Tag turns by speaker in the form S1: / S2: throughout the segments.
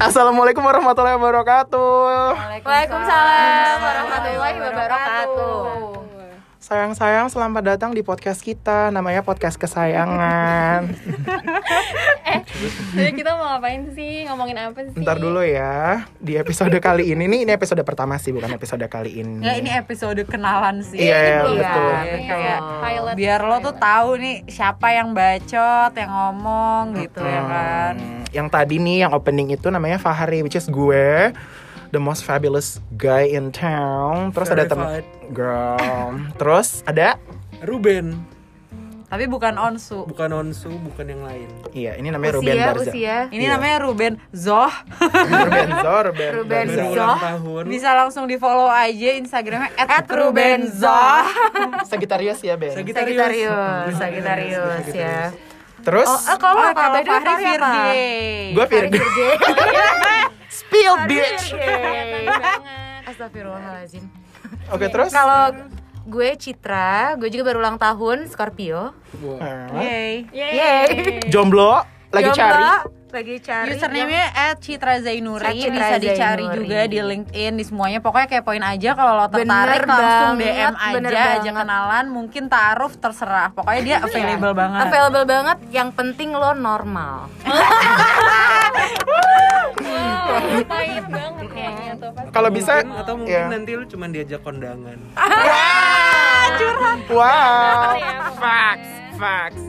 S1: Assalamualaikum warahmatullahi wabarakatuh.
S2: Waalaikumsalam warahmatullahi
S3: warahmatullahi
S2: wabarakatuh.
S3: wabarakatuh.
S1: Sayang-sayang selamat datang di podcast kita. Namanya podcast kesayangan.
S3: Jadi kita mau ngapain sih? Ngomongin apa sih?
S1: Ntar dulu ya. Di episode kali ini nih ini episode pertama sih, bukan episode kali ini.
S2: Ya ini episode kenalan sih.
S1: Iya,
S3: Ini belum
S1: betul.
S3: tahu nih, kayak pilot. ya.
S2: Biar lo tuh
S3: Pilot.
S2: tahu nih siapa yang bacot, yang ngomong gitu ya kan.
S1: Hmm, yang tadi nih yang opening itu namanya Fahri which is gue. The most fabulous guy in town. Terus ada teman
S4: Verified.
S1: girl. Terus ada
S4: Ruben
S2: Tapi bukan Onsu.
S4: bukan Onsu bukan yang lain
S1: Iya, ini namanya Ruben Barza.
S3: usia.
S2: Ini
S1: Iya.
S2: namanya Ruben Zoh.
S1: Ruben Zor, Ruben.
S3: Ruben
S1: Barza.
S3: Zor.
S4: ulang tahun
S2: Bisa langsung di follow aja Instagramnya @rubenzoh.
S1: Sagittarius ya, Ben.
S3: Sagittarius, Sagittarius ya.
S1: Terus
S3: Oh, eh, kalau
S2: Oh,
S3: apa?
S2: kalau
S3: By the way,
S2: Fahri
S3: Fahri apa?
S2: Virge.
S1: gue Virgo. Spill bitch.
S5: Iya,
S3: Kelihatan banget. Astagfirullahaladzim.
S1: Oke, terus
S3: Kalau gue Citra, gue juga baru ulang tahun, Scorpio.
S4: Wah.
S1: Eh,
S2: Yeay.
S5: iya.
S3: Yeay.
S1: jomblo lagi
S3: Jomblo,
S1: cari.
S3: Lagi cari.
S2: Username-nya @citrazainuri
S3: Citra
S2: bisa dicari
S3: Zainuri.
S2: juga di LinkedIn di semuanya pokoknya kepoin aja kalau lo tertarik
S3: Bener
S2: langsung
S3: banget,
S2: DM
S3: bener
S2: aja aja
S3: banget.
S2: kenalan mungkin taaruf terserah pokoknya dia available
S3: Iya.
S2: banget
S3: Available banget, yang penting lo normal. wow, pahit banget kayaknya tuh.
S1: Kalau bisa
S4: Mungkin- atau mungkin
S1: ya.
S4: nanti lu cuma diajak kondangan
S3: Ah,
S1: Wow. Ah, Iya, Facts, facts.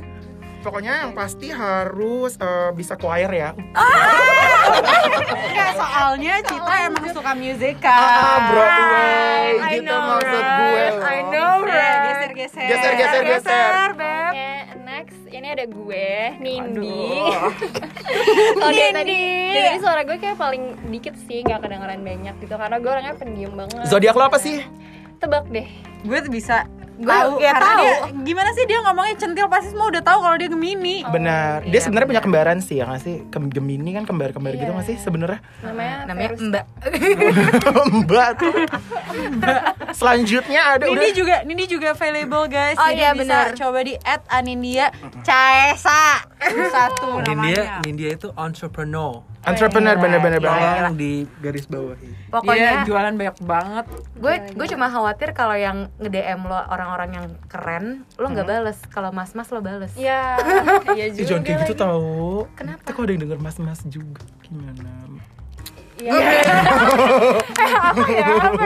S1: Pokoknya yang pasti harus eh, bisa choir ya.
S2: Enggak, soalnya Citra
S3: Iya.
S2: emang suka
S1: Ah,
S2: musical
S1: Broadway
S3: I
S1: gitu
S3: know,
S1: maksud
S3: right?
S1: gue. loh.
S3: I know, right?
S2: geser-geser
S1: Geser, geser, geser.
S3: Beb.
S5: Oke, next ini ada gue, Nindi.
S2: Oh,
S5: Kalau
S2: dia
S5: dari
S2: tadi
S5: tadi dari suara gue kayak paling dikit sih, nggak kedengeran banyak gitu karena gue orangnya pendiam banget.
S1: Zodiak lo apa sih?
S5: Tebak deh.
S2: gue tuh bisa
S3: Gue
S2: tahu
S3: ya
S2: karena
S3: tahu.
S2: dia gimana sih dia ngomongnya centil pasti semua udah tahu kalau dia Gemini
S1: Benar. Dia sebenarnya punya kembaran sih ya nggak sih? Kem- Gemini kan kembar-kembar gitu nggak sih sebenarnya?
S5: Namanya
S3: Namanya
S5: Verus.
S3: Mbak.
S1: Mbak tuh. Selanjutnya ada udah
S2: Nindi juga Nindi juga available guys.
S3: Oh,
S2: Jadi
S3: iya,
S2: bisa
S3: benar.
S2: coba di @anindia Caesa satu namanya.
S4: Nindia Nindia itu entrepreneur
S1: Iya, entrepreneur bener-bener banget.
S4: tolong di garis bawahi
S2: Pokoknya
S3: Pokoknya
S2: jualan banyak banget.
S3: gue gue cuma khawatir kalau yang nge-DM lo orang-orang yang keren, lo nggak bales. Kalau mas-mas lo bales.
S5: Ya, iya
S1: Ih,
S5: juga.
S1: jangan kayak gitu
S5: lagi.
S1: tau
S3: Kenapa?
S1: Ntar kalau ada yang denger mas-mas juga Gimana?
S2: Oke,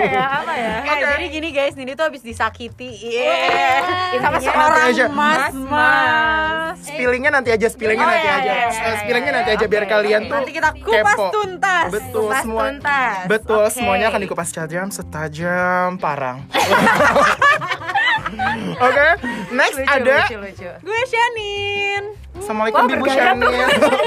S2: Eh, jadi gini guys, Nindi tuh habis disakiti. Iya. Sama
S3: Intinya
S2: seorang
S1: aja.
S2: mas-mas.
S1: Spillingnya nanti aja, spillingnya
S3: Oh,
S1: nanti
S3: iya,
S1: aja
S3: iya, iya,
S1: Eh, Spillingnya nanti aja biar kalian tuh
S2: Nanti kita kupas
S1: kepo.
S2: tuntas.
S1: Betul
S3: Kupas
S1: semua
S3: tuntas.
S1: Betul,
S3: Oke.
S1: semuanya akan dikupas tajam setajam parang Oke, next
S3: Lucu,
S1: ada
S3: lucu, lucu.
S2: Gue Shanin.
S1: Assalamualaikum Bibu Shani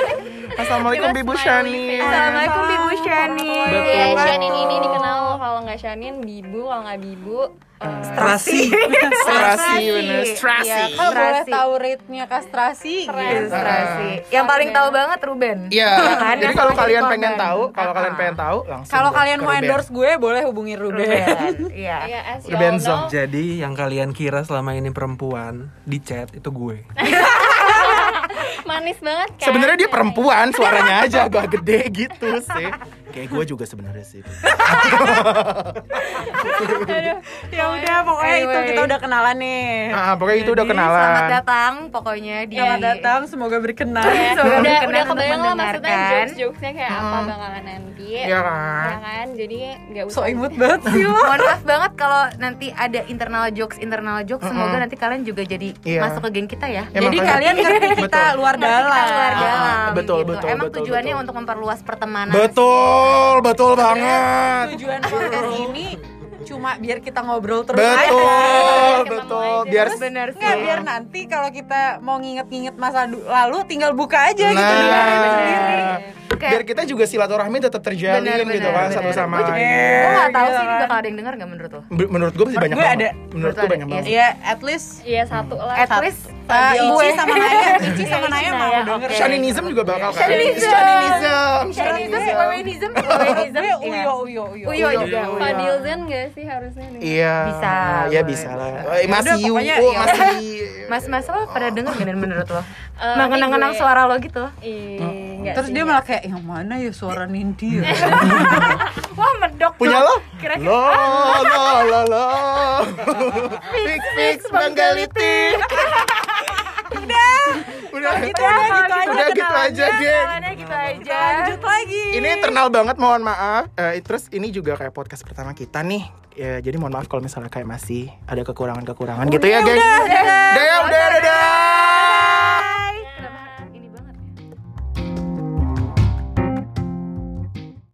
S1: Assalamualaikum Bibu Shani
S3: Assalamualaikum Bibu Shani.
S1: Betul.
S5: Iya, Shanin ini dikenal kalau nggak Shanin, Bibu kalau nggak Bibu. eh,
S4: terasi
S1: Strasi, bener
S3: Iya,
S1: Strasi
S2: Kalau boleh
S3: Strasi.
S2: tahu rate-nya kastrasi
S3: Iya.
S2: gitu.
S3: Ilustrasi. Yang paling tahu banget Ruben.
S1: Iya,
S3: kan?
S1: jadi
S3: Yang
S1: kalau
S3: sama
S1: kalian
S3: jadi
S1: pengen
S3: korban.
S1: tahu, kalau kalian
S3: Ah.
S1: pengen tahu langsung
S2: Kalau
S1: ke-
S2: kalian
S1: ke
S2: mau
S1: Ruben.
S2: endorse gue boleh hubungin Ruben.
S3: Ruben. Iya.
S5: Iya, as you all
S1: Ruben Zong.
S5: know,
S4: jadi yang kalian kira selama ini perempuan di chat itu gue
S5: manis banget kan?
S1: Sebenarnya dia perempuan, suaranya aja agak gede gitu sih. Kayak gue juga sebenarnya sih.
S2: ya udah pokoknya itu
S3: Anyway.
S2: kita udah kenalan nih.
S1: Ah, pokoknya itu udah kenalan.
S3: Selamat datang pokoknya di
S2: Selamat datang, semoga berkenan.
S5: Ya,
S3: Semoga
S5: udah
S3: berkenan
S5: udah
S3: untuk
S5: kebayang lah maksudnya
S3: mendengarkan.
S5: jokes-jokesnya kayak apa bakalan nanti.
S1: Iya kan?
S5: Ya kan? Jadi nggak usah.
S2: So imut banget sih lo.
S3: Mohon maaf banget kalau nanti ada internal jokes internal jokes semoga nanti kalian juga jadi
S1: Iya.
S3: masuk ke geng kita ya.
S1: Ya,
S2: Jadi
S1: makanya-
S2: kalian ngerti kita
S1: Betul.
S2: luar dalam.
S3: Luar
S1: Ah,
S3: dalam,
S1: betul,
S3: gitu.
S1: betul,
S3: Emang
S1: betul,
S3: tujuannya
S1: betul.
S3: untuk memperluas pertemanan.
S1: Betul, betul banget.
S2: Tujuan podcast ini cuma biar kita ngobrol terus
S1: Betul,
S5: Ketemu
S1: betul.
S5: aja.
S1: Biar ya,
S3: Bener sih.
S2: Nggak, biar nanti kalau kita mau nginget-nginget masa du- lalu tinggal buka aja gitu dengerin sendiri.
S1: Nah,
S3: Kayak-
S1: biar kita juga silaturahmi tetap terjalin
S3: Bener,
S1: gitu
S3: bener,
S1: kan
S3: bener.
S1: satu sama
S3: Gua juga-
S1: lain.
S3: Gue gak tahu
S2: Iya,
S3: sih ini
S2: kan?
S3: bakal ada yang denger nggak menurut lo?
S1: Menurut gue masih
S2: Menurut
S1: banyak
S2: gue
S1: banget.
S2: ada.
S1: Menurut
S3: Menurut
S1: gue
S3: ada,
S1: banyak
S3: iya
S1: banget.
S2: Iya, at Ya, least
S5: Iya satu lah.
S3: At least uh,
S2: Eh,
S5: Fabio.
S2: Ici sama Naya, Ici sama
S3: Iya,
S2: Naya
S3: Ici,
S2: mau
S3: Naya,
S2: denger.
S3: oke.
S1: Shaninism juga bakal kan?
S3: Shaninism.
S1: Shaninism.
S3: Shaninism,
S2: Iya.
S3: Wawenism, Wawenism,
S2: Gue
S3: iya.
S2: uyo uyo uyo.
S3: Uyo juga.
S1: Uyo.
S5: Fadil Zen gak sih harusnya nih?
S1: Iya.
S3: Bisa,
S1: Ya
S3: boleh,
S1: bisa lah.
S3: bisa.
S1: Eh, Mas
S2: Yaudah,
S1: Yu,
S2: pokoknya
S1: oh
S2: iya.
S1: Mas
S3: Mas Mas lo pada denger gak dan menurut lo?
S5: Eh,
S3: Nah, kenang-kenang
S5: gue-
S3: suara lo gitu.
S5: Ih, nggak
S2: Terus
S5: sih,
S2: dia
S5: nggak.
S2: malah kayak yang mana ya suara Nindi ya?
S3: Wah, medok.
S1: Punya
S3: dong.
S1: lo?
S3: Kira-kira
S1: Lo, lo, lo, lo. Fix, fix, menggelitik. Udah.
S2: Gitu
S1: Udah.
S2: udah gitu aja.
S1: Udah gitu aja, geng.
S3: Kenalannya gitu aja.
S2: Lanjut lagi.
S1: Ini internal banget, mohon maaf. Eh, terus ini juga kayak podcast pertama kita nih. Ya, jadi mohon maaf kalau misalnya kayak masih ada kekurangan-kekurangan gitu ya, geng. Udah, ya, udah, udah.